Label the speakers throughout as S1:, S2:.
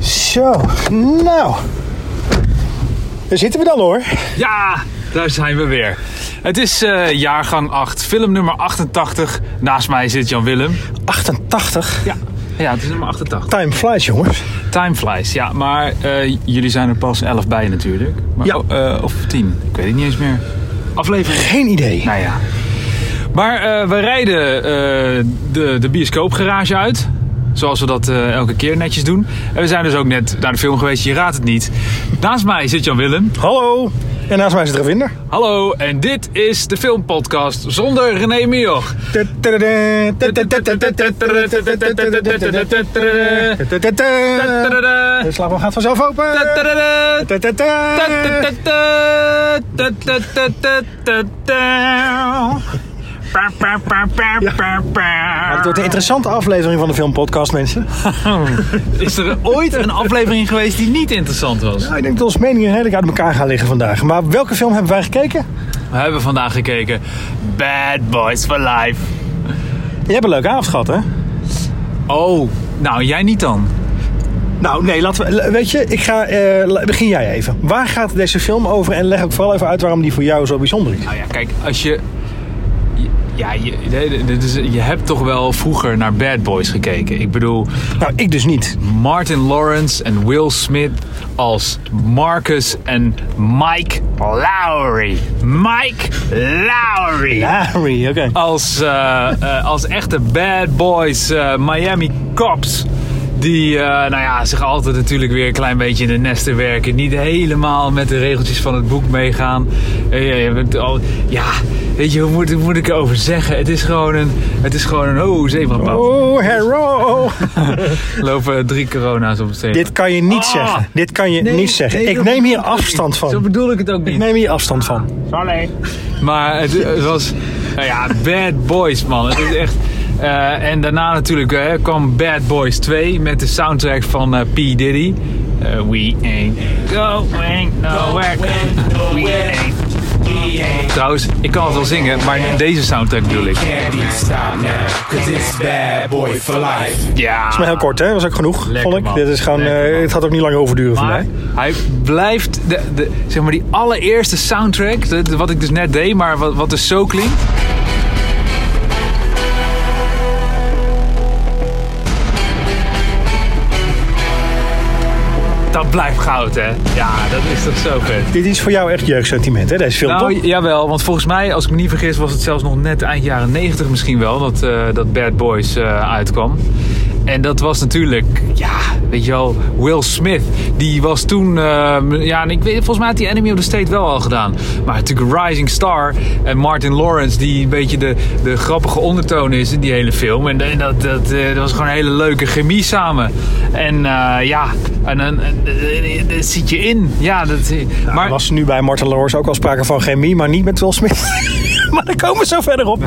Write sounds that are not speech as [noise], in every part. S1: Zo, nou. Daar zitten we dan hoor.
S2: Ja, daar zijn we weer. Het is eh, jaargang 8, film nummer 88. Naast mij zit Jan Willem.
S1: 88.
S2: Ja. Ja, het is nummer 88.
S1: Time flies jongens.
S2: Time flies, ja. Maar eh, jullie zijn er pas 11 bij natuurlijk. Maar,
S1: Ja.
S2: oh, eh, of 10, ik weet het niet eens meer. Aflevering.
S1: Geen idee.
S2: Nou ja. Maar eh, we rijden eh, de, de bioscoopgarage uit. Zoals we dat eh, elke keer netjes doen. En we zijn dus ook net naar de film geweest, je raadt het niet. Naast mij zit Jan Willem.
S1: Hallo. En naast mij zit Ravinder.
S2: Hallo, en dit is de filmpodcast zonder René Mioch.
S1: De slaapbal gaat vanzelf open. Het wordt een interessante aflevering van de filmpodcast mensen.
S2: Is er ooit een aflevering geweest die niet interessant was?
S1: Nou, ik denk dat onze meningen redelijk uit elkaar gaan liggen vandaag. Maar welke film hebben wij gekeken?
S2: We hebben vandaag gekeken Bad Boys for Life.
S1: Je hebt een leuke avond gehad hè?
S2: Oh, nou jij niet dan?
S1: Nou, nee, laten we. l- Weet je, ik ga. eh, la- begin jij even. Waar gaat deze film over? En leg ook vooral even uit waarom die voor jou zo bijzonder is.
S2: Nou ja, kijk, als je... Ja, je, nee, dit is, je hebt toch wel vroeger naar Bad Boys gekeken. Ik bedoel,
S1: Nou, ik dus niet.
S2: Martin Lawrence en Will Smith als Marcus en Mike Lowry. Mike Lowry.
S1: Larry, oké.
S2: Als, eh, eh, als echte bad boys eh, Miami cops. Die eh, nou ja, zich altijd natuurlijk weer een klein beetje in de nesten werken. Niet helemaal met de regeltjes van het boek meegaan. Eh, ja, je bent al- ja, weet je, hoe moet, hoe moet ik erover zeggen? Het is gewoon een... Het is gewoon een... Oh, zebrapad.
S1: Oh, hero!
S2: Er lopen drie corona's op het zebra.
S1: Dit kan je niet
S2: Ah.
S1: zeggen. Dit kan je
S2: Nee,
S1: niet zeggen.
S2: nee,
S1: ik
S2: dat-
S1: neem hier afstand
S2: Zo
S1: van.
S2: bedoel ik het ook niet.
S1: Ik neem hier afstand van.
S2: Sorry. Maar het, het was, nou ja, Bad Boys, man. Het is echt. eh, en daarna natuurlijk eh, kwam Bad Boys 2 met de soundtrack van eh, P. Diddy. Eh, we ain't going nowhere. We ain't. Trouwens, ik kan het wel zingen, maar deze soundtrack bedoel ik.
S3: Can't be stopped now, cause it's bad boy for life.
S2: Ja.
S1: Maar heel kort, hè? Was ook genoeg,
S2: Lekker,
S1: vond ik.
S2: man.
S1: Dit is gewoon,
S2: Lekker,
S1: eh,
S2: man.
S1: het gaat ook niet lang overduren voor
S2: Maar
S1: mij.
S2: hij blijft, de, de, zeg maar die allereerste soundtrack, dat- wat ik dus net deed, maar wat, wat dus zo klinkt. Dat blijft goud, hè? Ja, dat is toch zo vet.
S1: Dit is voor jou echt jeugdsentiment, hè? Deze film,
S2: Nou,
S1: toch?
S2: jawel, want volgens mij, als ik me niet vergis, was het zelfs nog net eind jaren 90 misschien wel dat, eh, dat Bad Boys eh, uitkwam. En dat was natuurlijk, ja, weet je wel, Will Smith. Die was toen, eh, ja, en ik weet, volgens mij had hij Enemy of the State wel al gedaan. Maar natuurlijk Rising Star en Martin Lawrence, die een beetje de, de grappige ondertoon is in die hele film. En, en dat, dat, eh, dat was gewoon een hele leuke chemie samen. En eh, ja, en, en, en- en- en- dat zit je in. Ja, dat,
S1: Er was nu bij Martin Lawrence ook al sprake van chemie, maar niet met Will Smith. [laughs] maar daar komen we zo verder op.
S2: [laughs]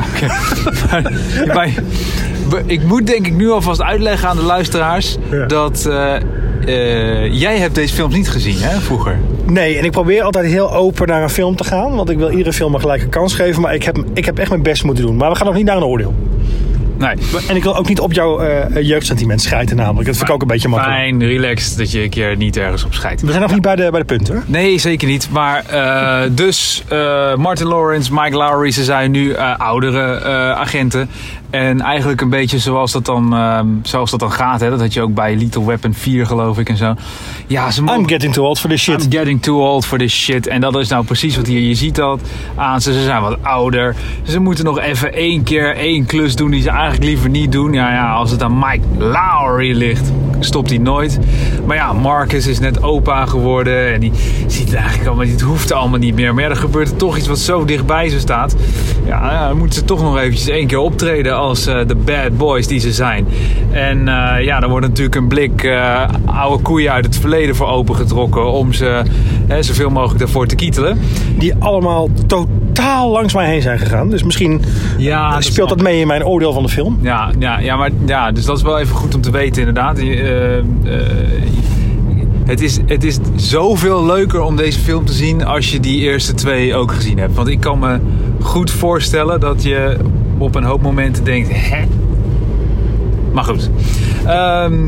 S2: Maar ik moet denk ik nu alvast uitleggen aan de luisteraars
S1: Ja.
S2: dat eh, eh, jij hebt deze films niet gezien, hè, vroeger.
S1: Nee, en ik probeer altijd heel open naar een film te gaan. Want ik wil iedere film een gelijke kans geven. Maar ik heb, ik heb echt mijn best moeten doen. Maar we gaan nog niet naar een oordeel.
S2: Nee.
S1: En ik wil ook niet op jouw eh, jeugdsentiment schijten namelijk. Dat vind ik ook een beetje makkelijk.
S2: Ah, Fijn, relaxed dat je een keer niet ergens op scheidt.
S1: We zijn nog niet bij de, bij de punten. hè?
S2: Nee, zeker niet. Maar eh, dus eh, Martin Lawrence, Mike Lowry, ze zijn nu eh, oudere eh, agenten. En eigenlijk een beetje zoals dat dan, ehm, zoals dat dan gaat. Hè? Dat had je ook bij Little Weapon 4 geloof ik en zo. Ja, ze mogen
S1: I'm getting too old for this shit.
S2: I'm getting too old for this shit. En dat is nou precies wat hier. Je ziet dat aan ze. Ze zijn wat ouder. Ze moeten nog even één keer één klus doen die ze eigenlijk liever niet doen. Ja, ja, als het aan Mike Lowry ligt, stopt hij nooit. Maar ja, Marcus is net opa geworden. En die ziet het eigenlijk allemaal niet. Het hoeft allemaal niet meer. Maar ja, er gebeurt er toch iets wat zo dichtbij ze staat. Ja, ja, dan moeten ze toch nog eventjes één keer optreden als eh, de bad boys die ze zijn. En eh, ja, dan wordt natuurlijk een blik eh, oude koeien uit het verleden voor opengetrokken. Om ze hè, zoveel mogelijk daarvoor te kietelen.
S1: Die allemaal totaal langs mij heen zijn gegaan. Dus misschien
S2: Ja, dat
S1: speelt dat mee in mijn oordeel van de film.
S2: Ja, ja, ja, maar, ja, dus dat is wel even goed om te weten inderdaad. Eh, eh, het, is, het is zoveel leuker om deze film te zien als je die eerste twee ook gezien hebt. Want ik kan me goed voorstellen dat je op een hoop momenten denkt... Hè? Maar goed. Ehm,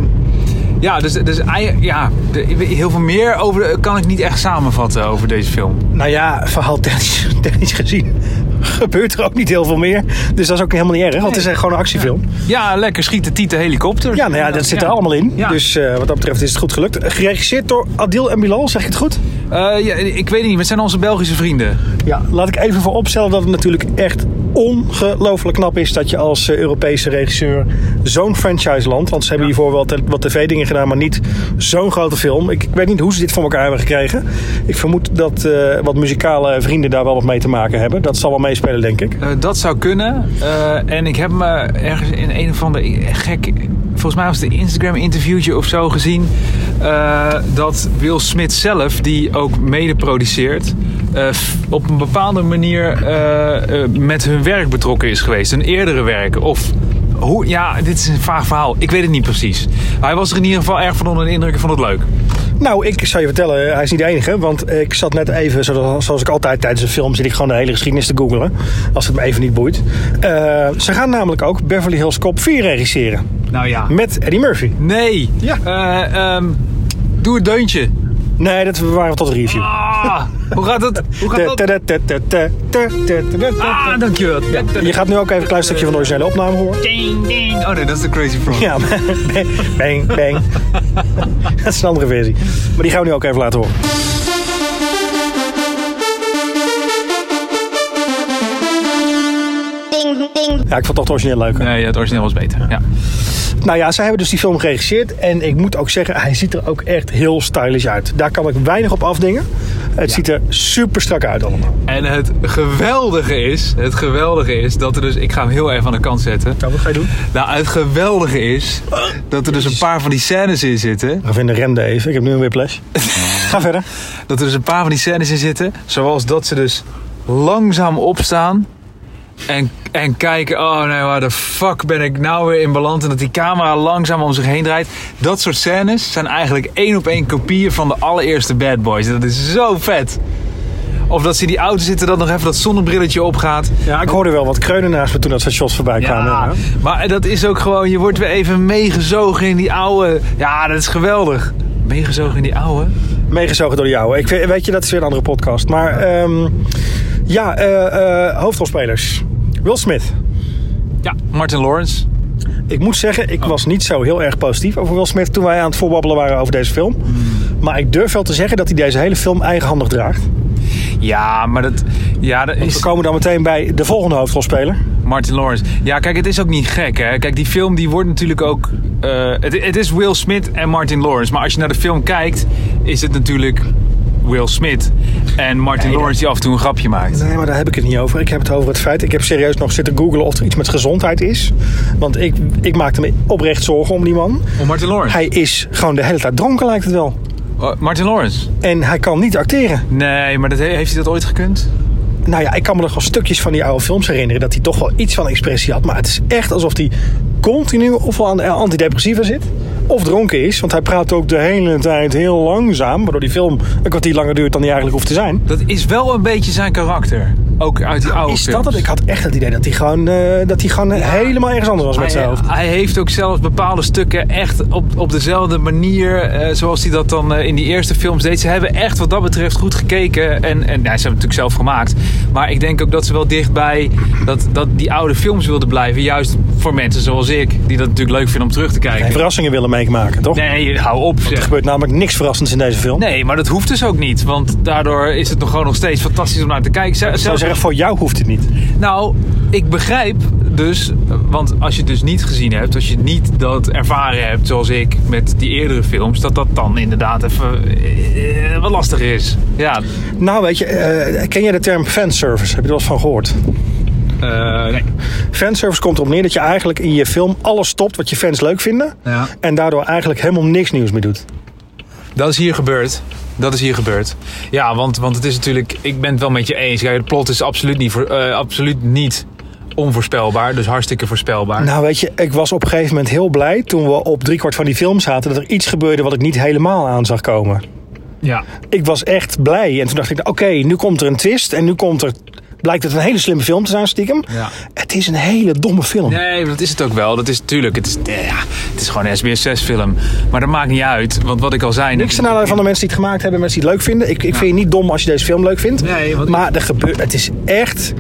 S2: Ja, dus, dus ei- ja, de- heel veel meer over, kan ik niet echt samenvatten over deze film.
S1: Nou ja, verhaal technisch, [laughs] technisch gezien gebeurt er ook niet heel veel meer. Dus dat is ook helemaal niet erg, want het is echt gewoon een actiefilm.
S2: Ja, lekker schieten, tieten, helikopter.
S1: Ja, nou ja, dat zit er allemaal in.
S2: Ja.
S1: Dus eh, wat dat betreft is het goed gelukt. Geregisseerd door Adil en Bilal, zeg ik het goed?
S2: Eh, ja, ik weet het niet, het zijn onze Belgische vrienden.
S1: Ja, laat ik even vooropstellen dat het natuurlijk echt ongelooflijk knap is dat je als eh, Europese regisseur zo'n franchise landt. Want ze hebben hiervoor wel te- wat tv-dingen gedaan, maar niet zo'n grote film. Ik, ik weet niet hoe ze dit voor elkaar hebben gekregen. Ik vermoed dat eh, wat muzikale vrienden daar wel wat mee te maken hebben. Dat zal wel meespelen, denk ik.
S2: Eh, dat zou kunnen. Eh, en ik heb me ergens in een of ander gek... Volgens mij was het een Instagram-interviewtje of zo gezien... eh, dat Will Smith zelf, die ook mede produceert... eh, f- op een bepaalde manier eh, eh, met hun werk betrokken is geweest. Hun eerdere werk. Of hoe... Ja, dit is een vaag verhaal. Ik weet het niet precies. Maar hij was er in ieder geval erg van onder de indruk en vond het leuk.
S1: Nou, ik zou je vertellen, hij is niet de enige. Want ik zat net even, zo- zoals ik altijd tijdens een film, zit ik gewoon de hele geschiedenis te googelen. Als het me even niet boeit. Eh, ze gaan namelijk ook Beverly Hills Cop 4 regisseren.
S2: Nou ja.
S1: Met Eddie Murphy.
S2: Nee.
S1: Ja.
S2: Eh, ehm, doe het deuntje.
S1: Nee, dat waren we tot een review.
S2: Ah, hoe gaat dat? Hoe gaat dat? Ah, dankjewel.
S1: Je gaat nu ook even een klein stukje van de originele opname horen.
S2: Ding, ding. Oh nee, dat is de Crazy Frog.
S1: Ja, [laughs] bang, bang, bang. Dat is een andere versie. Maar die gaan we nu ook even laten horen.
S4: ding ding
S1: Ja, ik vond toch het origineel leuker.
S2: [laughs] Nee, ja, het origineel was beter. Ja.
S1: Nou ja, zij hebben dus die film geregisseerd. En ik moet ook zeggen, hij ziet er ook echt heel stylish uit. Daar kan ik weinig op afdingen. Het ziet er super strak uit allemaal.
S2: En het geweldige is, het geweldige is dat er dus, ik ga hem heel even aan de kant zetten.
S1: Nou, wat ga je doen?
S2: Nou, het geweldige is dat er dus een paar van die scènes in zitten.
S1: Ga vinden rende even. Ik heb nu een whiplash. Ga verder.
S2: Dat er dus een paar van die scènes in zitten. Zoals dat ze dus langzaam opstaan. En, en kijken, oh nee, waar de fuck ben ik nou weer in beland? En dat die camera langzaam om zich heen draait. Dat soort scènes zijn eigenlijk één op één kopieën van de allereerste Bad Boys. Dat is zo vet. Of dat ze in die auto zitten, dat nog even dat zonnebrilletje opgaat.
S1: Ja, ik hoorde wel wat kreunen naast me toen dat zijn shots voorbij kwamen.
S2: Ja, maar dat is ook gewoon, je wordt weer even meegezogen in die oude. Ja, dat is geweldig. Meegezogen in die oude?
S1: Meegezogen door jou. Ik vind- weet je, dat is weer een andere podcast. Maar ehm, ja, eh, eh, hoofdrolspelers. Will Smith.
S2: Ja, Martin Lawrence.
S1: Ik moet zeggen, ik was niet zo heel erg positief over Will Smith toen wij aan het voorbabbelen waren over deze film. Maar ik durf wel te zeggen dat hij deze hele film eigenhandig draagt.
S2: Ja, maar dat. Ja, dat
S1: We
S2: is.
S1: komen dan meteen bij de volgende hoofdrolspeler.
S2: Martin Lawrence. Ja, kijk, het is ook niet gek, hè. Kijk, die film die wordt natuurlijk ook... eh, het, het is Will Smith en Martin Lawrence. Maar als je naar de film kijkt, is het natuurlijk Will Smith en Martin Lawrence die af en toe een grapje maakt.
S1: Nee, maar daar heb ik het niet over. Ik heb het over het feit. Ik heb serieus nog zitten googlen of er iets met gezondheid is. Want ik, ik maakte me oprecht zorgen om die man.
S2: Om Martin Lawrence.
S1: Hij is gewoon de hele tijd dronken, lijkt het wel.
S2: Oh, Martin Lawrence.
S1: En hij kan niet acteren.
S2: Nee, maar dat, he- heeft hij dat ooit gekund?
S1: Nou ja, ik kan me nog wel stukjes van die oude films herinneren. dat hij toch wel iets van expressie had. Maar het is echt alsof hij continu ofwel aan eh, antidepressiva zit. of dronken is. Want hij praat ook de hele tijd heel langzaam. waardoor die film een kwartier langer duurt dan die eigenlijk hoeft te zijn.
S2: Dat is wel een beetje zijn karakter. Ook uit die oude
S1: Is dat
S2: films.
S1: het? Ik had echt het idee dat hij gewoon, eh, dat hij gewoon eh, helemaal ergens anders was met zijn
S2: hij,
S1: hoofd.
S2: hij heeft ook zelfs bepaalde stukken echt op, op dezelfde manier eh, zoals hij dat dan eh, in die eerste films deed. Ze hebben echt wat dat betreft goed gekeken en, en ja, ze hebben het natuurlijk zelf gemaakt. Maar ik denk ook dat ze wel dichtbij dat, dat die oude films wilden blijven. Juist voor mensen zoals ik, die dat natuurlijk leuk vinden om terug te
S1: En
S2: kijken.
S1: verrassingen willen meemaken, toch?
S2: Nee, hou op
S1: Er
S2: zeg.
S1: gebeurt namelijk niks verrassends in deze film.
S2: Nee, maar dat hoeft dus ook niet. Want daardoor is het nog gewoon nog steeds fantastisch om naar te kijken. Ze-
S1: Ik zou
S2: zelfs-
S1: zeggen, voor jou hoeft het niet.
S2: Nou, ik begrijp dus, want als je het dus niet gezien hebt, als je niet dat ervaren hebt zoals ik met die eerdere films, dat dat dan inderdaad even eh, wat lastiger is. Ja,
S1: Nou, weet je, eh, ken jij de term fanservice? Heb je er wel eens van gehoord?
S2: eh, nee.
S1: Fanservice komt erop neer dat je eigenlijk in je film alles stopt wat je fans leuk vinden.
S2: Ja.
S1: En daardoor eigenlijk helemaal niks nieuws meer doet.
S2: Dat is hier gebeurd. Dat is hier gebeurd. Ja, want, want het is natuurlijk, ik ben het wel met je eens. Kijk, het plot is absoluut niet, voor- eh, absoluut niet onvoorspelbaar, dus hartstikke voorspelbaar.
S1: Nou, weet je, ik was op een gegeven moment heel blij toen we op driekwart van die film zaten. dat er iets gebeurde wat ik niet helemaal aan zag komen.
S2: Ja.
S1: ik was echt blij. En toen dacht ik, oké, nu komt er een twist. En nu komt er blijkt het een hele slimme film te zijn, stiekem.
S2: Ja.
S1: Het is een hele domme film.
S2: Nee, maar dat is het ook wel. Dat is natuurlijk. Het is, eh, ja, het is gewoon een SBS6-film. Maar dat maakt niet uit. Want wat ik al zei.
S1: Niks ten nadele van de mensen die het gemaakt hebben, mensen die het leuk vinden. Ik, ik vind je niet dom als je deze film leuk vindt.
S2: Nee, want-
S1: maar er gebeurt, het is echt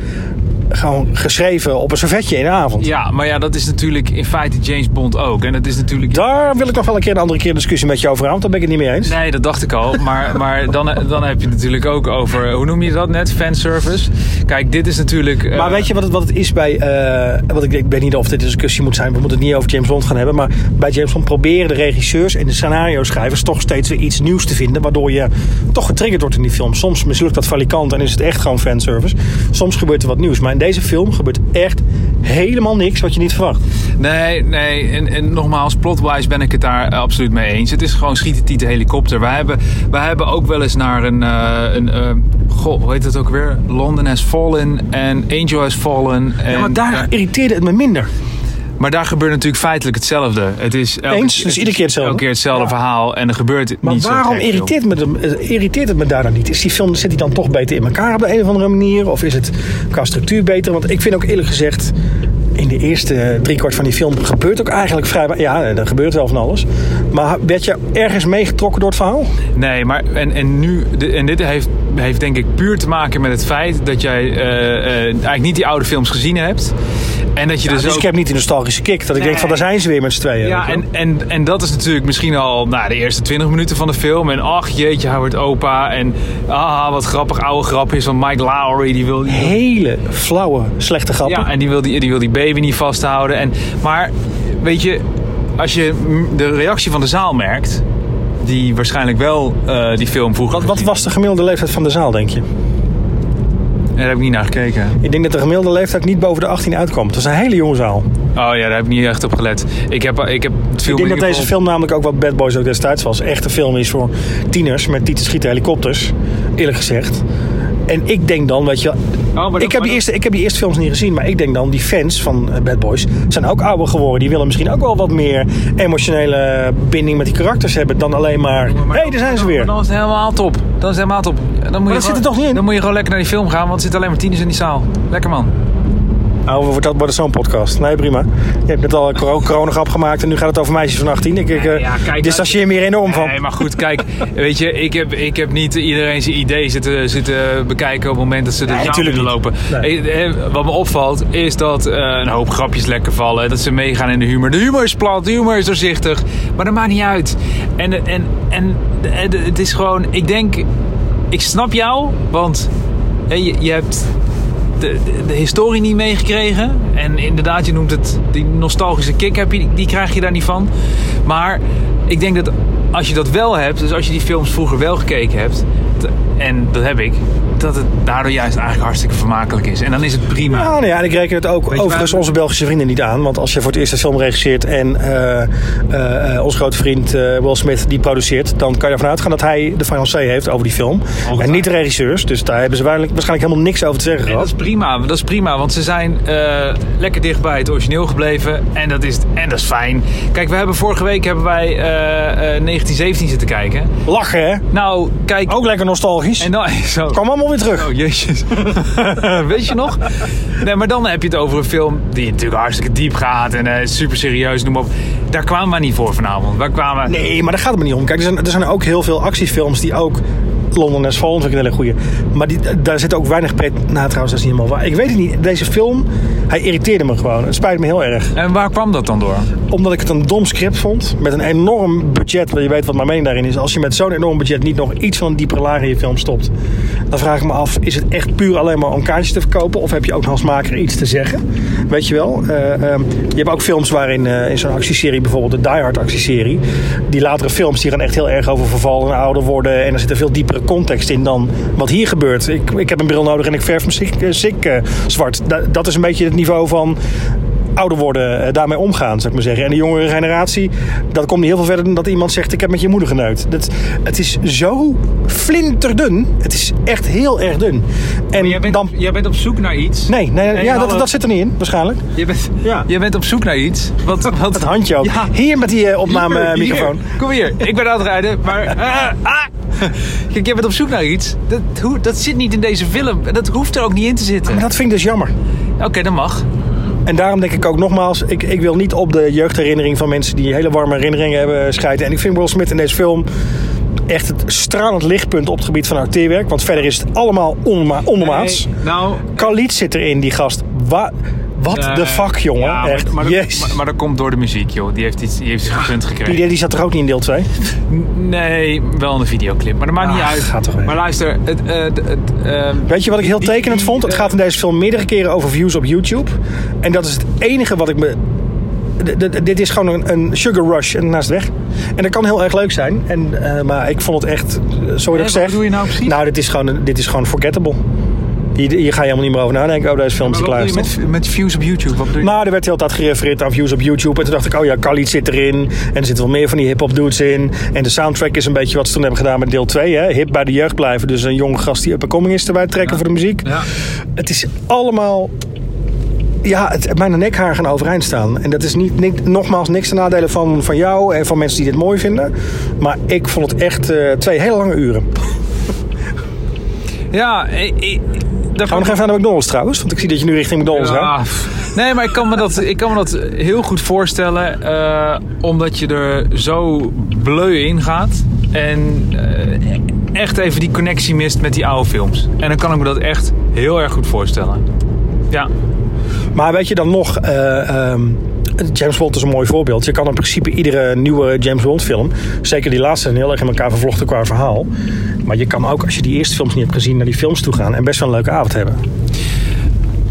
S1: gewoon geschreven op een servetje in de avond.
S2: Ja, maar ja, dat is natuurlijk in feite James Bond ook. En dat is natuurlijk.
S1: Daar wil ik nog wel een keer een andere keer een discussie met jou over aan, want daar ben ik het niet mee eens.
S2: Nee, dat dacht ik al.
S1: [laughs]
S2: Maar, maar dan, dan heb je het natuurlijk ook over. Hoe noem je dat net? Fanservice. Kijk, dit is natuurlijk. eh,
S1: Maar weet je wat het, wat het is bij. eh wat ik, ik weet niet of dit een discussie moet zijn. We moeten het niet over James Bond gaan hebben. Maar bij James Bond proberen de regisseurs en de scenario-schrijvers toch steeds weer iets nieuws te vinden. Waardoor je toch getriggerd wordt in die film. Soms mislukt dat valikant en is het echt gewoon fanservice. Soms gebeurt er wat nieuws. Maar in deze film gebeurt echt helemaal niks wat je niet verwacht.
S2: Nee, nee. En, en nogmaals, plotwise ben ik het daar eh, absoluut mee eens. Het is gewoon schieten, tieten, helikopter. Wij hebben, wij hebben ook wel eens naar een... eh, een eh, goh, hoe heet dat ook weer? London has fallen en Angel has fallen. En,
S1: Ja, maar daar irriteerde het me minder.
S2: maar daar gebeurt natuurlijk feitelijk hetzelfde. Het is elke,
S1: Eens? Dus iedere keer hetzelfde?
S2: Elke keer hetzelfde
S1: Ja.
S2: verhaal en er gebeurt
S1: Maar
S2: niet zo
S1: waarom
S2: gek veel.
S1: irriteert, me de- eh, irriteert het me daar dan niet? Is die film, zit die dan toch beter in elkaar op de een of andere manier? Of is het qua structuur beter? Want ik vind ook eerlijk gezegd... In de eerste driekwart van die film gebeurt ook eigenlijk vrij... Ja, er gebeurt wel van alles. Maar werd je ergens meegetrokken door het verhaal?
S2: Nee, maar en, en nu, de- en dit heeft, heeft denk ik puur te maken met het feit dat jij eh, eh, eigenlijk niet die oude films gezien hebt. En dat je dus,
S1: dus
S2: ook...
S1: ik heb niet die nostalgische kick. Dat ik denk van, daar zijn ze weer met z'n tweeën.
S2: Ja,
S1: weet je
S2: en,
S1: wel.
S2: en, en dat is natuurlijk misschien al na de eerste 20 minuten van de film. En ach jeetje, Howard Opa. En ah, wat grappig oude grapjes van Mike Lowry. Die wil, die wil-
S1: Hele flauwe, slechte grappen.
S2: ja, en die wil die, die wil die baby niet vasthouden. En, maar weet je, als je mm, de reactie van de zaal merkt. Die waarschijnlijk wel eh, die film vroeger.
S1: Wat
S2: gezien
S1: was de gemiddelde leeftijd van de zaal, denk je?
S2: heeft. Daar heb ik niet naar gekeken.
S1: Ik denk dat de gemiddelde leeftijd niet boven de 18 uitkomt. Het is een hele jonge zaal.
S2: Oh ja, daar heb ik niet echt op gelet. Ik heb, ik
S1: Ik
S2: heb het
S1: denk dat
S2: filmpje
S1: deze film namelijk ook wat Bad Boys ook destijds was. Echt een film is voor tieners met tieten schieten helikopters. Eerlijk gezegd. En ik denk dan, weet je wel,
S2: Oh, maar dat-
S1: ik,
S2: maar
S1: heb die
S2: dat-
S1: eerste, ik heb die eerste films niet gezien. Maar ik denk dan, die fans van eh, Bad Boys zijn ook ouder geworden. Die willen misschien ook wel wat meer emotionele binding met die karakters hebben. Dan alleen maar, hé,
S2: Maar
S1: hey, daar zijn ze weer.
S2: Dan is het helemaal top. Dan is het helemaal top. Dan moet je
S1: dat zit er toch niet in?
S2: Dan moet je gewoon lekker naar die film gaan, want er zitten alleen maar tieners in die zaal. Lekker man.
S1: Ouwe, Nou, wordt dat, wordt het zo'n podcast? Nee, prima. Je hebt net al een coro- coronagap gemaakt en nu gaat het over meisjes van 18. Ik, ik eh,
S2: Nee, ja, kijk,
S1: distancieer me hier enorm van.
S2: Nee, maar goed, kijk. weet je, ik heb, ik heb niet iedereen zijn idee zitten, zitten bekijken op het moment dat ze de zaal
S1: natuurlijk
S2: binnen
S1: niet.
S2: lopen.
S1: Nee.
S2: Eh, eh, Wat me opvalt, is dat eh, een hoop grapjes lekker vallen. Dat ze meegaan in de humor. De humor is plat, de humor is doorzichtig. Maar dat maakt niet uit. En, en, en, en het is gewoon... Ik denk... Ik snap jou, want hè, je, je hebt... De, de, de historie niet meegekregen. En inderdaad, je noemt het die nostalgische kick, heb je, die krijg je daar niet van. Maar ik denk dat als je dat wel hebt, dus als je die films vroeger wel gekeken hebt, t- en dat heb ik, dat het daardoor juist eigenlijk hartstikke vermakelijk is. En dan is het prima.
S1: Ja, nou ja, en ik reken het ook
S2: je
S1: overigens
S2: waar-
S1: onze Belgische vrienden niet aan. Want als je voor het eerst een film regisseert en eh, eh, eh, onze grote vriend eh, Will Smith die produceert, dan kan je ervan uitgaan dat hij de financier heeft over die film. En niet de regisseurs, dus daar hebben ze waarschijnlijk, waarschijnlijk helemaal niks over te zeggen
S2: En dat
S1: gehad.
S2: is prima, dat is prima, want ze zijn eh, lekker dicht bij het origineel gebleven en dat is, en dat is fijn. Kijk, we hebben vorige week hebben wij eh, eh, 1917 zitten kijken.
S1: Lachen, hè?
S2: Nou, kijk.
S1: Ook lekker nostalgisch.
S2: En dan, [laughs] zo.
S1: Kwam allemaal weer terug.
S2: Oh jezus. [laughs] Weet je nog? Nee, maar dan heb je het over een film die natuurlijk hartstikke diep gaat en eh, super serieus, noem maar op. Daar kwamen we niet voor vanavond. Waar kwamen
S1: Nee, maar daar gaat het me niet om. Kijk, er zijn, er zijn ook heel veel actiefilms die ook... London is Fallen vind ik een hele goeie. Maar die, daar zit ook weinig pret... Nou, trouwens, dat is niet helemaal waar. Ik weet het niet. Deze film, hij irriteerde me gewoon. Het spijt me heel erg.
S2: En waar kwam dat dan door?
S1: Omdat ik het een dom script vond. Met een enorm budget. Want je weet wat mijn mening daarin is. Als je met zo'n enorm budget niet nog iets van een diepere laag in je film stopt. Dan vraag ik me af. Is het echt puur alleen maar om kaartjes te verkopen? Of heb je ook als maker iets te zeggen? Weet je wel. eh, ehm, je hebt ook films waarin eh, in zo'n actieserie. Bijvoorbeeld de Die Hard actieserie. Die latere films die gaan echt heel erg over verval en ouder worden. En er zit een veel diepere context in dan wat hier gebeurt. Ik, ik heb een bril nodig en ik verf me ziek, eh, ziek, eh, zwart. Da- dat is een beetje het niveau van ouder worden, eh, daarmee omgaan, zou ik maar zeggen. En de jongere generatie, dat komt niet heel veel verder dan dat iemand zegt: Ik heb met je moeder geneukt. Dat, het is zo flinterdun. Het is echt heel erg dun. En
S2: Jij bent,
S1: dan.
S2: jij bent op zoek naar iets.
S1: Nee, nee,
S2: En
S1: ja,
S2: alle-
S1: dat, dat zit er niet in, waarschijnlijk.
S2: Je bent,
S1: Ja.
S2: je bent op zoek naar iets. Wat,
S1: [laughs]
S2: wat,
S1: Het handje ook.
S2: Ja.
S1: Hier met die eh, opname
S2: Hier,
S1: eh, microfoon. [laughs]
S2: hier. Kom hier, ik ben aan het rijden, maar... eh, ah, Kijk, jij bent op zoek naar iets. Dat, hoe, dat zit niet in deze film. En dat hoeft er ook niet in te zitten.
S1: Maar dat vind ik dus jammer.
S2: Oké, dat mag.
S1: En daarom denk ik ook nogmaals, ik, ik wil niet op de jeugdherinnering van mensen die hele warme herinneringen hebben schijten. En ik vind Will Smith in deze film echt het stralend lichtpunt op het gebied van acteerwerk. Want verder is het allemaal onderma ondermaats.
S2: Nee, nou,
S1: Khalid zit erin, die gast. Wa wat de
S2: eh,
S1: fuck, jongen.
S2: ja, maar-
S1: echt.
S2: Maar, dat,
S1: Jezus.
S2: maar, maar dat komt door de muziek, joh. Die heeft iets, die heeft iets gegund gekregen.
S1: die, die zat er ook niet in deel 2.
S2: Nee, wel in de videoclip. Maar dat maakt niet
S1: Ah,
S2: uit.
S1: gaat toch weer.
S2: maar luister, het, eh, het, het, ehm,
S1: Weet je wat ik heel tekenend vond? Het gaat in deze film meerdere keren over views op YouTube. En dat is het enige wat ik me. D- d- Dit is gewoon een, een sugar rush en naast weg. En dat kan heel erg leuk zijn. En, eh, maar ik vond het echt. eh, Sorry dat ik
S2: wat
S1: zeg.
S2: bedoel je nou precies?
S1: Nou, dit is gewoon, een- dit is gewoon forgettable. Hier, hier ga je helemaal niet meer over nadenken. Oh, deze film is
S2: wat
S1: te
S2: bedoel
S1: klaar.
S2: je met, met views op YouTube? Wat bedoel je?
S1: Nou, er werd heel tijd gerefereerd aan views op YouTube. En toen dacht ik, oh ja, Khalid zit erin. En er zitten wel meer van die hip-hop dudes in. En de soundtrack is een beetje wat ze toen hebben gedaan met deel 2. Hè? Hip bij de jeugd blijven. Dus een jonge gast die up-and-coming is erbij trekken voor de muziek.
S2: Ja.
S1: Het is allemaal. Ja, het, mijn nekhaar gaan overeind staan. En dat is niet, ni- nogmaals niks te nadelen van, van jou en van mensen die dit mooi vinden. Maar ik vond het echt eh, twee hele lange uren.
S2: Ja, ik, ik, daar
S1: Gaan we nog even naar de McDonald's trouwens? Want ik zie dat je nu richting McDonald's
S2: Ja,
S1: gaat.
S2: pff. Nee, maar ik kan me dat, ik kan me dat heel goed voorstellen. eh, omdat je er zo bleu in gaat. En eh, echt even die connectie mist met die oude films. En dan kan ik me dat echt heel erg goed voorstellen. Ja,
S1: Maar weet je dan nog, eh, ehm, James Bond is een mooi voorbeeld. Je kan in principe iedere nieuwe James Bond film, zeker die laatste, zijn heel erg in elkaar vervlochten qua verhaal. Maar je kan ook, als je die eerste films niet hebt gezien, naar die films toe gaan en best wel een leuke avond hebben.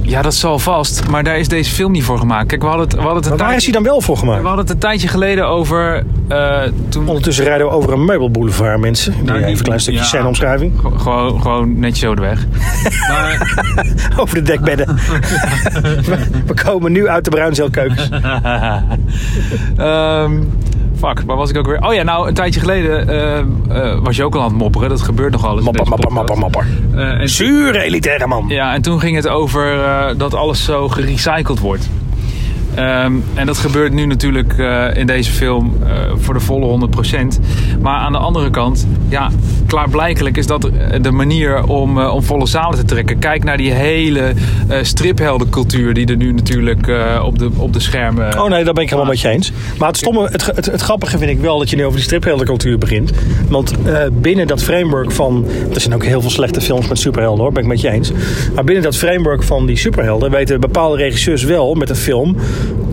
S2: ja dat zal vast. Maar daar is deze film niet voor gemaakt. Kijk, we hadden het, we hadden het een
S1: Maar waar is
S2: tijdje-
S1: hij dan wel voor
S2: We
S1: gemaakt?
S2: hadden het een tijdje geleden over. eh, toen
S1: Ondertussen rijden we over een meubelboulevard, mensen.
S2: Nou,
S1: even
S2: die-
S1: een klein stukje
S2: ja.
S1: scèneomschrijving.
S2: Gew- Gewoon, gewoon netjes over de weg. maar,
S1: [laughs] Over de
S2: [laughs]
S1: dekbedden. we, we komen nu uit de bruinzeelkeukens.
S2: Ehm, fuck, waar was ik ook weer? Oh ja, nou, een tijdje geleden ehm, eh, was je ook al aan het mopperen. Dat gebeurt nogal eens. in
S1: Mapper,
S2: deze
S1: mapper, mapper,
S2: podcast.
S1: mapper.
S2: Eh, en,
S1: Zuur elitaire man.
S2: ja, en toen ging het over eh, dat alles zo gerecycled wordt. Ehm, en dat gebeurt nu natuurlijk eh, in deze film eh, voor de volle 100%. Maar aan de andere kant, ja, klaarblijkelijk is dat eh, de manier om, eh, om volle zalen te trekken. Kijk naar die hele eh stripheldencultuur die er nu natuurlijk eh, op, de, op de schermen...
S1: Oh nee, daar ben ik helemaal met je eens. Maar het, stomme, het, het, het grappige vind ik wel dat je nu over die stripheldencultuur begint. Want eh, binnen dat framework van... Er zijn ook heel veel slechte films met superhelden hoor, ben ik met je eens. Maar binnen dat framework van die superhelden... weten bepaalde regisseurs wel met een film...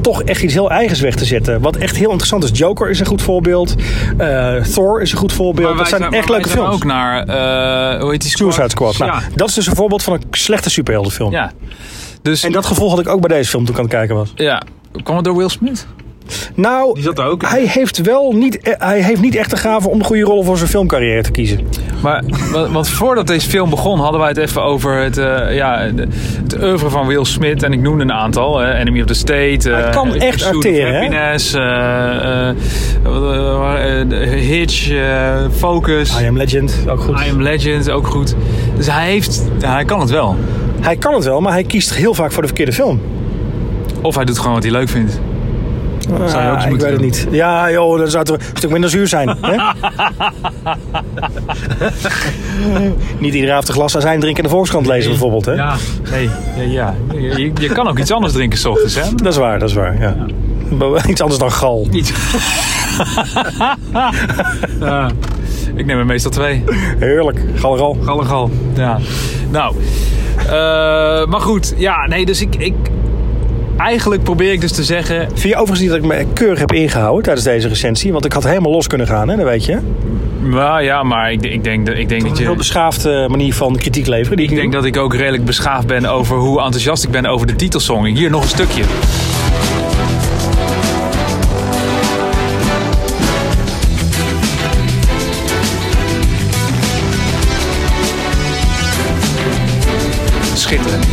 S1: toch echt iets heel eigens weg te zetten. Wat echt heel interessant is. Joker is een goed voorbeeld. Eh, Thor is een goed voorbeeld.
S2: Maar
S1: dat
S2: wij
S1: zijn echt
S2: maar
S1: leuke
S2: wij zijn
S1: films.
S2: ook naar, eh, hoe heet die
S1: Suicide Squad. Nou,
S2: Ja.
S1: Dat is dus een voorbeeld van een slechte superheldenfilm.
S2: ja. Dus,
S1: En dat gevoel had ik ook bij deze film toen ik aan het kijken was.
S2: ja. Kwam het door Will Smith?
S1: Nou,
S2: Die zat er ook in.
S1: hij heeft wel niet, eh, hij heeft niet echt de gave om de goede rollen voor zijn filmcarrière te kiezen.
S2: Maar, wa- want voordat deze film begon hadden wij het even over het, eh ja, de- het oeuvre van Will Smith. En ik noemde een aantal. eh, Enemy of the State. eh,
S1: Hij kan echt
S2: Pursuit of
S1: acteren, hè?
S2: Happiness. eh, eh, eh, eh, Hitch. eh, Focus.
S1: I Am Legend, ook goed.
S2: I Am Legend, ook goed. Dus hij, heeft, hij kan het wel.
S1: Hij kan het wel, maar hij kiest heel vaak voor de verkeerde film.
S2: Of hij doet gewoon wat hij leuk vindt. Zou je ook eens
S1: Ah, ik
S2: moeten
S1: weet het
S2: doen.
S1: niet. Ja, joh, dat zou toch een stuk minder zuur zijn.
S2: [laughs]
S1: hè? niet iedere avond een glas azijn drinken en de Volkskrant lezen bijvoorbeeld. Hè?
S2: Ja, nee, ja, ja. Je, je kan ook iets anders drinken s ochtends, hè?
S1: Dat is waar, dat is waar. Ja. [laughs] Iets anders dan gal.
S2: [laughs] Iets. ja. Ik neem er meestal twee.
S1: Heerlijk, galgal.
S2: Gallegal. Ja. Nou. eh, maar goed, ja, nee, dus ik, ik. Eigenlijk probeer ik dus te zeggen.
S1: Vind je overigens niet dat ik me keurig heb ingehouden tijdens deze recensie? Want ik had helemaal los kunnen gaan, hè? dat weet je.
S2: Nou ja, maar ik, ik denk, dat- ik denk dat
S1: Een heel
S2: je.
S1: beschaafde manier van kritiek leveren. Die
S2: Ik denk dat ik ook redelijk beschaafd ben over hoe enthousiast ik ben over de titelsong. Hier nog een stukje. Schitterend.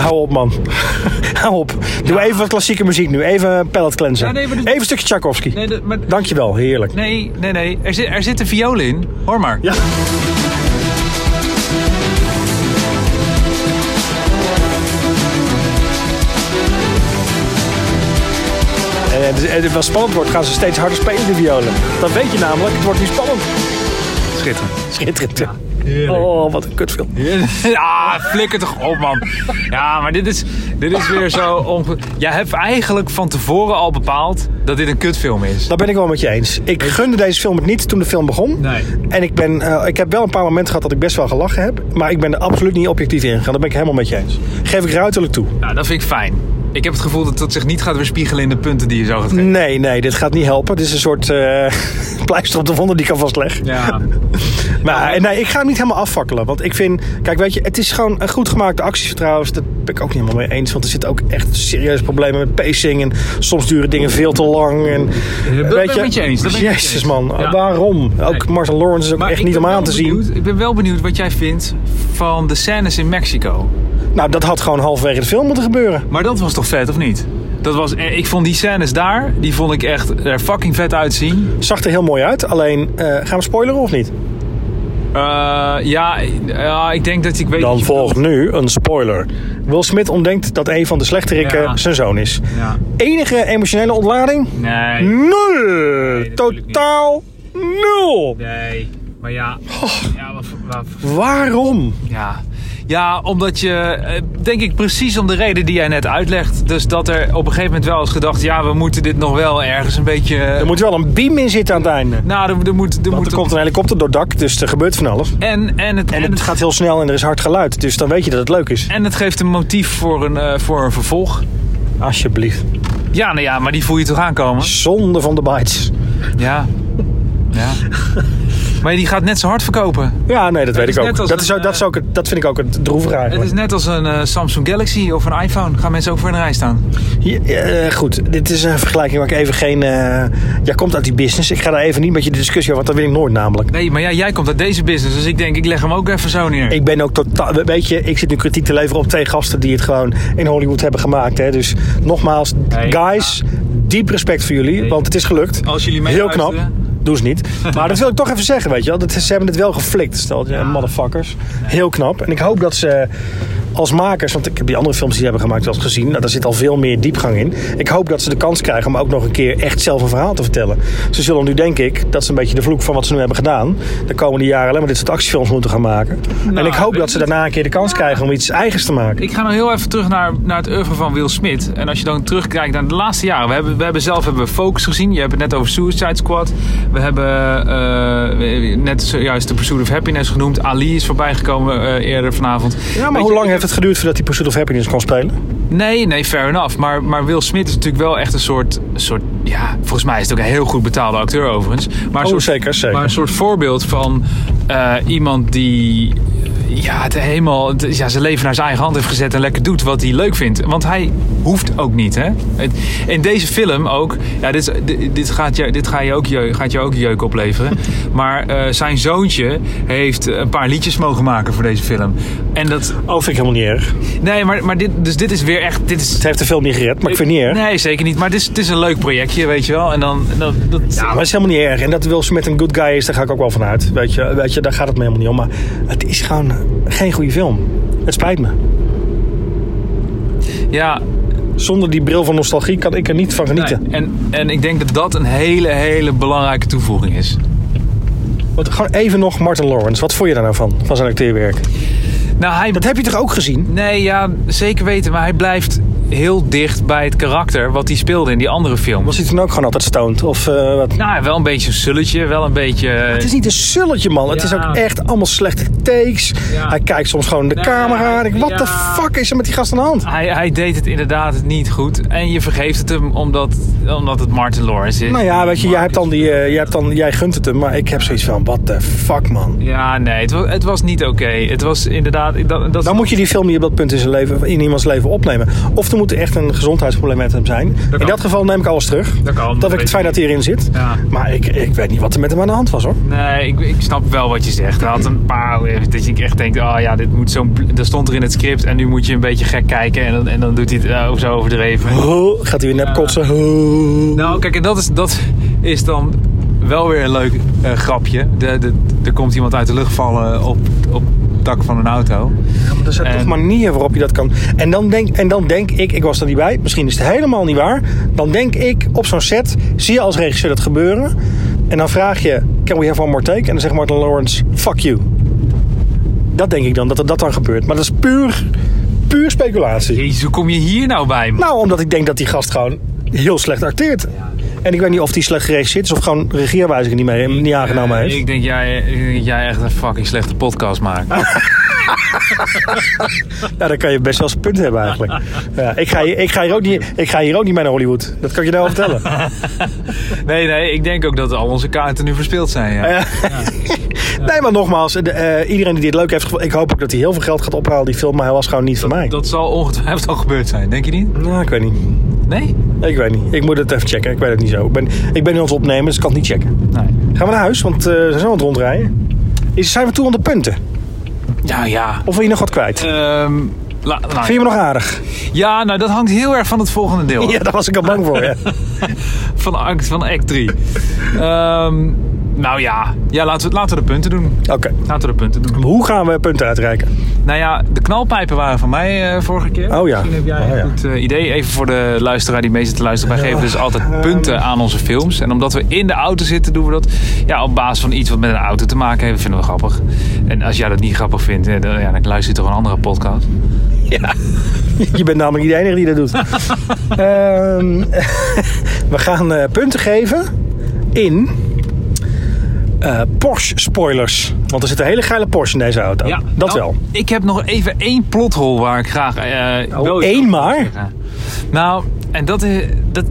S1: Hou op, man. [laughs] Hou op. Doe even wat klassieke muziek nu. Even een pallet cleanser.
S2: Ja, nee, maar dat-
S1: Even een stukje Tchaikovsky.
S2: Nee, dat- maar-
S1: Dankjewel, heerlijk.
S2: Nee, nee, nee. Er zit, er zit een viool in. Hoor maar.
S1: Ja. En het, is- en het wel spannend wordt, gaan ze steeds harder spelen, die violen. Dat weet je namelijk, het wordt nu spannend.
S2: Schitterend.
S1: [laughs] Schitterend. Oh, wat een kutfilm.
S2: [laughs] Ja, flikker toch op, man. Ja, maar dit is, dit is weer zo... Onge... Jij hebt eigenlijk van tevoren al bepaald dat dit een kutfilm is.
S1: Dat ben ik wel met je eens. Ik gunde deze film het niet toen de film begon.
S2: Nee.
S1: En ik, ben, eh, ik heb wel een paar momenten gehad dat ik best wel gelachen heb. Maar ik ben er absoluut niet objectief in gegaan. Dat ben ik helemaal met je eens. Geef ik ruiterlijk toe.
S2: Nou, dat vind ik fijn. Ik heb het gevoel dat dat zich niet gaat weerspiegelen in de punten die je zo gaat geven.
S1: Nee, nee, dit gaat niet helpen. Dit is een soort eh, [laughs] pleister op de wonden die ik alvast leg. [laughs]
S2: Ja.
S1: Maar eh, nee, ik ga hem niet helemaal afvakkelen. Want ik vind, kijk, weet je, het is gewoon een goed gemaakte actie trouwens. Dat ben ik ook niet helemaal mee eens. Want er zitten ook echt serieuze problemen met pacing. En soms duren dingen veel te lang. En,
S2: ben
S1: weet
S2: ik met je eens, dat ben ik met je
S1: Jezus
S2: eens.
S1: man,
S2: Ja.
S1: waarom? Ook
S2: Nee.
S1: Martin Lawrence is ook echt
S2: ik
S1: niet
S2: ben
S1: om
S2: wel
S1: aan te zien.
S2: benieuwd- Ik ben wel benieuwd wat jij vindt van de scènes in Mexico.
S1: Nou, dat had gewoon halverwege de film moeten gebeuren.
S2: Maar dat was toch vet, of niet? Dat was, eh, ik vond die scènes daar, die vond ik echt er fucking vet uitzien.
S1: Zag er heel mooi uit. Alleen, eh, gaan we spoileren of niet?
S2: Eh, ja, ja, ik denk dat ik weet... wat
S1: Dan
S2: je
S1: volgt nu een spoiler. Will Smith ontdekt dat een van de slechterikken
S2: Ja.
S1: zijn zoon is.
S2: bedoelt. Ja.
S1: Enige emotionele ontlading?
S2: Nee,
S1: Nul!
S2: natuurlijk niet.
S1: Totaal nul!
S2: nee. Maar ja...
S1: Oh.
S2: Ja, wat voor- wat voor-
S1: Waarom?
S2: ja. ja, omdat je... eh, Denk ik precies om de reden die jij net uitlegt. Dus dat er op een gegeven moment wel is gedacht... Ja, we moeten dit nog wel ergens een beetje... eh,
S1: Er moet wel een beam in zitten aan het einde.
S2: Nou, er, er moet... Er
S1: Want
S2: moet
S1: er komt een helikopter door het dak, dus er gebeurt van alles.
S2: en, en, het,
S1: En het gaat heel snel en er is hard geluid, dus dan weet je dat het leuk is.
S2: en het geeft een motief voor een, eh, voor een vervolg.
S1: Alsjeblieft.
S2: Ja, nou ja, maar die voel je toch aankomen?
S1: Zonde van de bites.
S2: Ja.
S1: [laughs]
S2: Ja. Maar die gaat net zo hard verkopen.
S1: Ja, nee, dat, weet
S2: is
S1: ik ook.
S2: net
S1: Dat,
S2: als
S1: is,
S2: een,
S1: ook- dat, is ook het- dat vind ik ook het droevige
S2: Het
S1: eigenlijk.
S2: is net als een eh, Samsung Galaxy of een iPhone. Gaan mensen ook voor een rij staan.
S1: Ja, eh, goed, dit is een vergelijking waar ik even geen... eh jij komt uit die business. Ik ga daar even niet met je de discussie over, want dat wil ik nooit namelijk.
S2: Nee, maar ja, jij komt uit deze business. Dus ik denk, ik leg hem ook even zo neer.
S1: Ik ben ook totaal... Weet je, ik zit nu kritiek te leveren op twee gasten die het gewoon in Hollywood hebben gemaakt. Hè. Dus nogmaals,
S2: Nee,
S1: guys, diep respect voor jullie, want het is gelukt.
S2: ah. Als jullie
S1: Heel
S2: meeluisteren.
S1: knap. Doe ze [laughs] niet. Maar dat wil ik toch even zeggen, weet je wel. Dat, ze hebben het wel geflikt, stel je, motherfuckers. Heel knap. En ik hoop dat ze als makers, want ik heb die andere films die ze hebben gemaakt wel eens gezien. Nou, daar zit al veel meer diepgang in. Ik hoop dat ze de kans krijgen om ook nog een keer echt zelf een verhaal te vertellen. Ze zullen nu, denk ik, dat is een beetje de vloek van wat ze nu hebben gedaan. De komende jaren alleen maar dit soort actiefilms moeten gaan maken. en Nou, ik hoop
S2: weet
S1: dat ze
S2: niet.
S1: daarna een keer de kans krijgen om iets eigens te maken.
S2: Ik ga nou heel even terug naar, naar het oeuvre van Will Smith. En als je dan terugkijkt naar de laatste jaren. We hebben, we hebben zelf hebben we Focus gezien. Je hebt het net over Suicide Squad. We hebben eh, net zojuist The Pursuit of Happiness genoemd. Ali is voorbijgekomen eh, eerder vanavond.
S1: ja, maar
S2: Weet
S1: hoe
S2: je,
S1: lang
S2: ik
S1: heeft het geduurd voordat die Pursuit of Happiness kon spelen?
S2: Nee, nee, fair enough. Maar, maar Will Smith is natuurlijk wel echt een soort, soort... Ja, volgens mij is het ook een heel goed betaalde acteur overigens. Maar een
S1: Oh,
S2: soort,
S1: zeker, zeker.
S2: Maar een soort voorbeeld van eh, iemand die... eh, Ja, het helemaal, het- ja, zijn leven naar zijn eigen hand heeft gezet en lekker doet wat hij leuk vindt. Want hij hoeft ook niet, hè? Het- in deze film ook... Ja, dit, is- dit, dit gaat, je, dit ga je ook jeuk, gaat je ook
S1: [laughs]
S2: jeuk opleveren. maar eh, zijn zoontje heeft een paar liedjes mogen maken voor deze film. En dat...
S1: Oh, vind ik helemaal niet erg.
S2: Nee, maar, maar dit, dus dit is weer echt... Dit is
S1: Het heeft de film niet gered, maar ik vind het niet erg.
S2: Nee, zeker niet. Maar het is, het is een leuk projectje, weet je wel. En dan... en dan dat,
S1: Ja, Ah, maar het is helemaal niet erg. En dat Will Smith een good guy is, daar ga ik ook wel van uit. Weet je, weet je daar gaat het me helemaal niet om. Maar het is gewoon eh, geen goede film. Het spijt me.
S2: ja,
S1: Zonder die bril van nostalgie kan ik er niet van
S2: nee.
S1: genieten.
S2: en, en ik denk dat dat een hele, hele belangrijke toevoeging is.
S1: Want gewoon even nog Martin Lawrence. Wat vond je daar nou van? Van zijn acteerwerk.
S2: Nou, hij...
S1: Dat heb je toch ook gezien?
S2: Nee, ja, zeker weten. Maar hij blijft heel dicht bij het karakter wat hij speelde in die andere film.
S1: Was hij toen ook gewoon altijd stoned? Of eh, wat?
S2: Nou, wel een beetje een sulletje, wel een beetje...
S1: Het is niet een sulletje, man. Het
S2: Ja.
S1: is ook echt allemaal slechte takes.
S2: Ja.
S1: Hij kijkt soms gewoon de
S2: Nee,
S1: camera aan. Ik, Wat
S2: ja. Ah.
S1: de fuck is er met die gast aan de hand?
S2: eh, Hij, hij deed het inderdaad niet goed. En je vergeeft het hem omdat, omdat het Martin Lawrence is.
S1: Nou ja, weet je, jij, hebt dan die, eh,
S2: Marcus.
S1: jij, hebt dan, jij gunt het hem. Maar ik heb zoiets van, wat de fuck, man.
S2: Ja, nee, het was, het was niet oké. Het was inderdaad... Dat, dat
S1: Dan moet je die film niet op dat punt in, zijn leven, in iemands leven opnemen. Of er moet echt een gezondheidsprobleem met hem zijn. in
S2: kan.
S1: dat geval neem ik alles terug. dat
S2: Dat kan, dat
S1: vind ik
S2: weet
S1: het fijn
S2: ik
S1: dat hij erin zit.
S2: Ja.
S1: Maar ik, ik weet niet wat er met hem aan de hand was hoor.
S2: Nee, ik, ik snap wel wat je zegt. Hij had een paar... eh, Dat je echt denkt, oh ja, dit moet zo'n... Dat stond er in het script en nu moet je een beetje gek kijken. En dan, en dan doet hij het eh, zo overdreven.
S1: Ho, gaat hij weer nep kotsen. Ho.
S2: Nou, kijk, en dat is, dat is dan wel weer een leuk eh, grapje. De, de, er komt iemand uit de lucht vallen op, op het dak van een auto.
S1: er zijn
S2: en-
S1: toch manieren waarop je dat kan. En dan, denk, en dan denk ik, ik was er niet bij. Misschien is het helemaal niet waar. Dan denk ik op zo'n set, zie je als regisseur dat gebeuren. En dan vraag je, can we have one more take? En dan zegt Martin Lawrence, fuck you. Dat denk ik dan, dat er dat dan gebeurt. Maar dat is puur, puur speculatie.
S2: Jezus, hoe kom je hier nou bij, man?
S1: Nou, omdat ik denk dat die gast gewoon heel slecht acteert. En ik weet niet of die slecht geregisseerd is of gewoon regeerwijzingen niet, mee, niet aangenomen heeft.
S2: Ik denk jij, ik denk dat jij echt een fucking slechte podcast maakt.
S1: Ja, dan kan je best wel eens een punt hebben eigenlijk.
S2: [laughs]
S1: Ja, ik, ga hier, ik, ga hier ook niet, ik ga hier ook niet mee naar Hollywood. Dat kan ik je nou wel
S2: [laughs]
S1: vertellen.
S2: Nee, nee, ik denk ook dat al onze kaarten nu verspeeld zijn. Ja.
S1: Ja. Nee, maar nogmaals, de, eh, iedereen die dit leuk heeft gevonden... Ik hoop ook dat hij heel veel geld gaat ophalen, die film. Maar hij was gewoon niet voor mij.
S2: Dat zal ongetwijfeld al gebeurd zijn, denk je niet?
S1: Nou, ik weet niet.
S2: Nee?
S1: Ik weet niet. Ik moet het even checken. Ik weet het niet zo. Ik ben, ik ben nu aan het opnemen, dus ik kan het niet checken.
S2: Nee.
S1: Gaan we naar huis, want eh, we zijn zo aan het rondrijden. Is, zijn we toe aan de punten?
S2: Ja, ja.
S1: Of wil je nog wat kwijt?
S2: Ehm, la- la-
S1: Vind je me nog aardig?
S2: Ja, nou dat hangt heel erg van het volgende deel.
S1: [laughs]
S2: af.
S1: Ja, daar was ik al bang voor.
S2: [laughs]
S1: Ja.
S2: Van act van act 3. Ehm, nou ja, ja laten, we, laten we de punten doen.
S1: Oké.
S2: Laten we de punten doen.
S1: Hoe gaan we punten uitreiken?
S2: Nou ja, de knalpijpen waren van mij eh, vorige keer.
S1: Oh ja.
S2: Misschien heb jij
S1: Oh
S2: een
S1: ja.
S2: goed eh, idee. Even voor de luisteraar die mee zit te luisteren. Wij geven dus altijd punten aan onze films. En omdat we in de auto zitten, doen we dat ja, op basis van iets wat met een auto te maken heeft. vinden we grappig. En als jij dat niet grappig vindt, eh, dan, ja, dan luister je toch een andere podcast.
S1: Je bent namelijk niet de enige die dat
S2: [laughs]
S1: doet. Ehm, [laughs] we gaan eh, punten geven in eh, Porsche spoilers. Want er zit een hele geile Porsche in deze auto. Oh, dat
S2: nou,
S1: wel.
S2: Ik heb nog even één plothol waar ik graag... eh wel iets
S1: Oh, één
S2: over
S1: maar?
S2: wil zeggen. Nou, en dat, is- dat...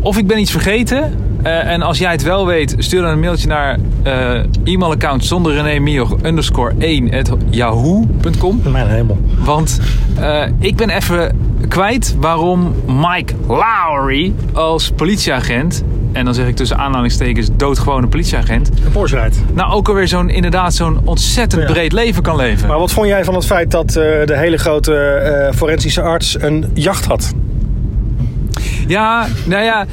S2: Of ik ben iets vergeten... eh, en als jij het wel weet, stuur dan een mailtje naar eh, e-mailaccount zonder René Mioch underscore 1 at yahoo.com.
S1: Mijn hemel.
S2: Want eh, ik ben even kwijt waarom Mike Lowry als politieagent... en dan zeg ik tussen aanhalingstekens doodgewone politieagent...
S1: Een Porsche rijdt.
S2: nou ook alweer zo'n inderdaad zo'n ontzettend
S1: Ja.
S2: breed leven kan leven.
S1: Maar wat vond jij van het feit dat eh, de hele grote eh, forensische arts een jacht had?
S2: Ja, nou ja.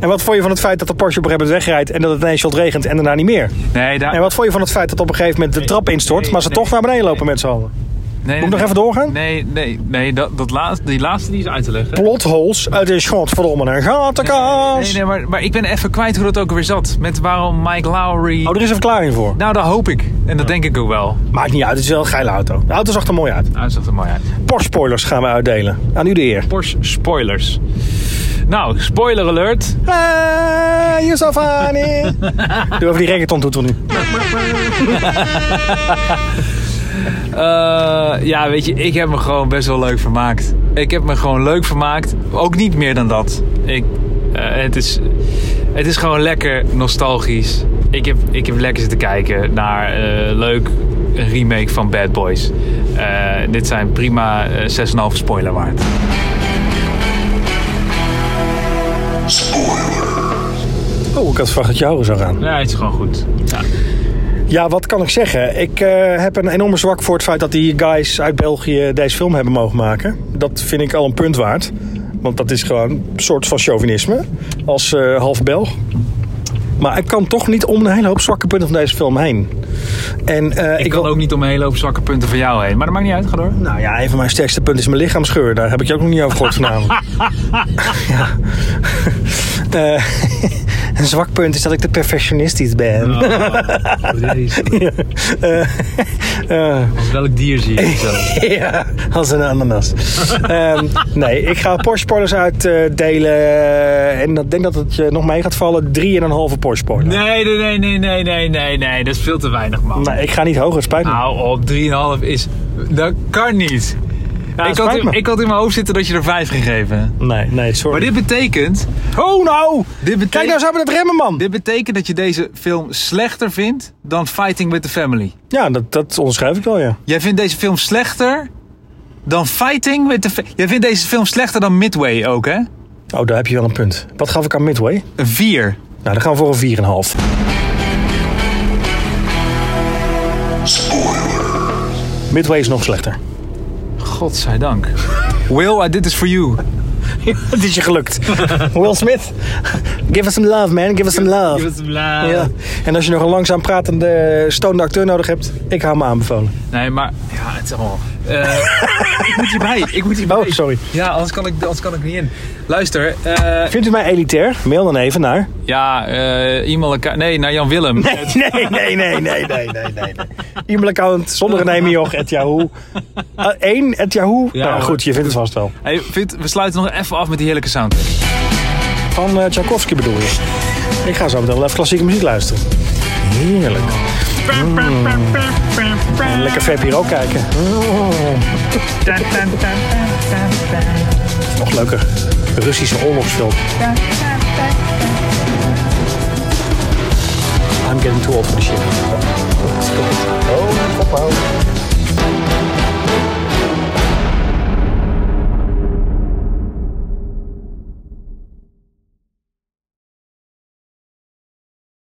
S1: En wat vond je van het feit dat de Porsche op een gegeven moment wegrijdt en dat het ineens shot regent en daarna niet meer?
S2: Nee, daar,
S1: En wat vond je van het feit dat op een gegeven moment de trap instort, maar ze
S2: nee,
S1: toch naar beneden lopen met z'n allen?
S2: nee,
S1: Moet ik nog even doorgaan?
S2: Nee, nee, nee dat, dat laatste, die laatste die is uit te leggen.
S1: Plotholes uit een schot, verdomme, een gatenkast.
S2: Nee, nee, maar, maar ik ben even kwijt hoe dat ook weer zat. Met waarom Mike Lowry...
S1: Oh, er is een verklaring voor.
S2: Nou, dat hoop ik. En dat denk ik ook wel.
S1: Maakt niet uit, het is wel een geile auto. De auto zag er mooi uit.
S2: Nou, dat zag er mooi uit.
S1: Porsche spoilers gaan we uitdelen. Aan u de eer.
S2: Porsche spoilers. Nou, spoiler alert.
S1: Hey, Yusuf
S2: [laughs]
S1: Hani. Doe even die reggaeton doet nu.
S2: Eh, ja, weet je, ik heb me gewoon best wel leuk vermaakt. Ik heb me gewoon leuk vermaakt. Ook niet meer dan dat. Ik, eh, het, is, het is gewoon lekker nostalgisch. Ik heb, ik heb lekker zitten kijken naar eh, leuk een remake van Bad Boys. Eh, dit zijn prima eh, 6,5 spoiler waard.
S1: Oh, ik had verwacht dat je ogen zou gaan.
S2: Ja, het is gewoon goed. Ja.
S1: Ja, wat kan ik zeggen? Ik eh, heb een enorme zwak voor het feit dat die guys uit België deze film hebben mogen maken. Dat vind ik al een punt waard. Want dat is gewoon een soort van chauvinisme. Als eh, half Belg. Maar ik kan toch niet om een hele hoop zwakke punten van deze film heen. En, eh,
S2: Ik,
S1: ik
S2: kan
S1: wil-
S2: ook niet om een hele hoop zwakke punten van jou heen. Maar dat maakt niet uit, ga door.
S1: Nou ja, een van mijn sterkste punten is mijn lichaamsgeur. Daar heb ik je ook nog niet over gehoord vanavond. ja. Eh, [laughs] een zwak punt is dat ik te perfectionistisch ben. Ja. [laughs] Eh, eh,
S2: welk dier zie je?
S1: [laughs] ja, als een ananas. Ehm, nee, ik ga Porsche spoilers uitdelen. eh, en ik denk dat het je nog mee gaat vallen. Drie en een halve Porsche spoiler.
S2: Nee, nee, nee, nee, nee, nee, nee, nee. Dat is veel te weinig, man.
S1: Nee, ik ga niet hoger, spijt me.
S2: Nou, op 3,5 is. Dat kan niet. ik, had
S1: spijt
S2: in,
S1: me.
S2: ik had in mijn hoofd zitten dat je er 5 ging geven.
S1: Nee, nee,
S2: Ah. Maar
S1: sorry.
S2: dit betekent.
S1: Oh nou!
S2: Dit betekent,
S1: Kijk nou eens aan met dat remmen, man.
S2: dit betekent dat je deze film slechter vindt dan Fighting with the Family.
S1: Ja, dat, dat onderschrijf ik wel, ja.
S2: Jij vindt deze film slechter dan Fighting with the Family. Jij vindt deze film slechter dan Midway ook, hè?
S1: Oh, daar heb je wel een punt. Wat gaf ik aan Midway?
S2: Een 4.
S1: Nou, dan gaan we voor een 4,5. Midway is nog slechter. [laughs]
S2: Godzijdank. uh, Will, I did this for you.
S1: Het is je gelukt. Will Smith. Give us some love, man. Give us some love.
S2: Ja.
S1: Ja. En als je nog een langzaam pratende stoned acteur nodig hebt, ik hou me aanbevolen.
S2: Nee, maar ja, het is allemaal. Eh, ik moet hierbij. Ik moet hierbij.
S1: Oh, sorry.
S2: Ja, anders kan ik, anders kan ik niet in. Luister. eh,
S1: Vindt u mij elitair? Mail dan even naar.
S2: ja, eh e-mail. Nee, naar Jan Willem.
S1: [laughs] Nee, nee, nee, nee, nee, nee, nee, nee. E-mailaccount zonder een name, joch, at Yahoo. Eén, at Yahoo.
S2: Ja,
S1: nou
S2: hoor.
S1: goed, je vindt het vast wel.
S2: Hey, Vint, we sluiten nog even af met die heerlijke sound.
S1: Van eh Tchaikovsky bedoel je? Ik ga zo meteen wel even klassieke muziek luisteren. Heerlijk. Mm. En lekker Fab hier ook kijken. Hm, Mm. Nog leuker. Russische oorlogsfilm. I'm getting too old for this shit. Oh, papa.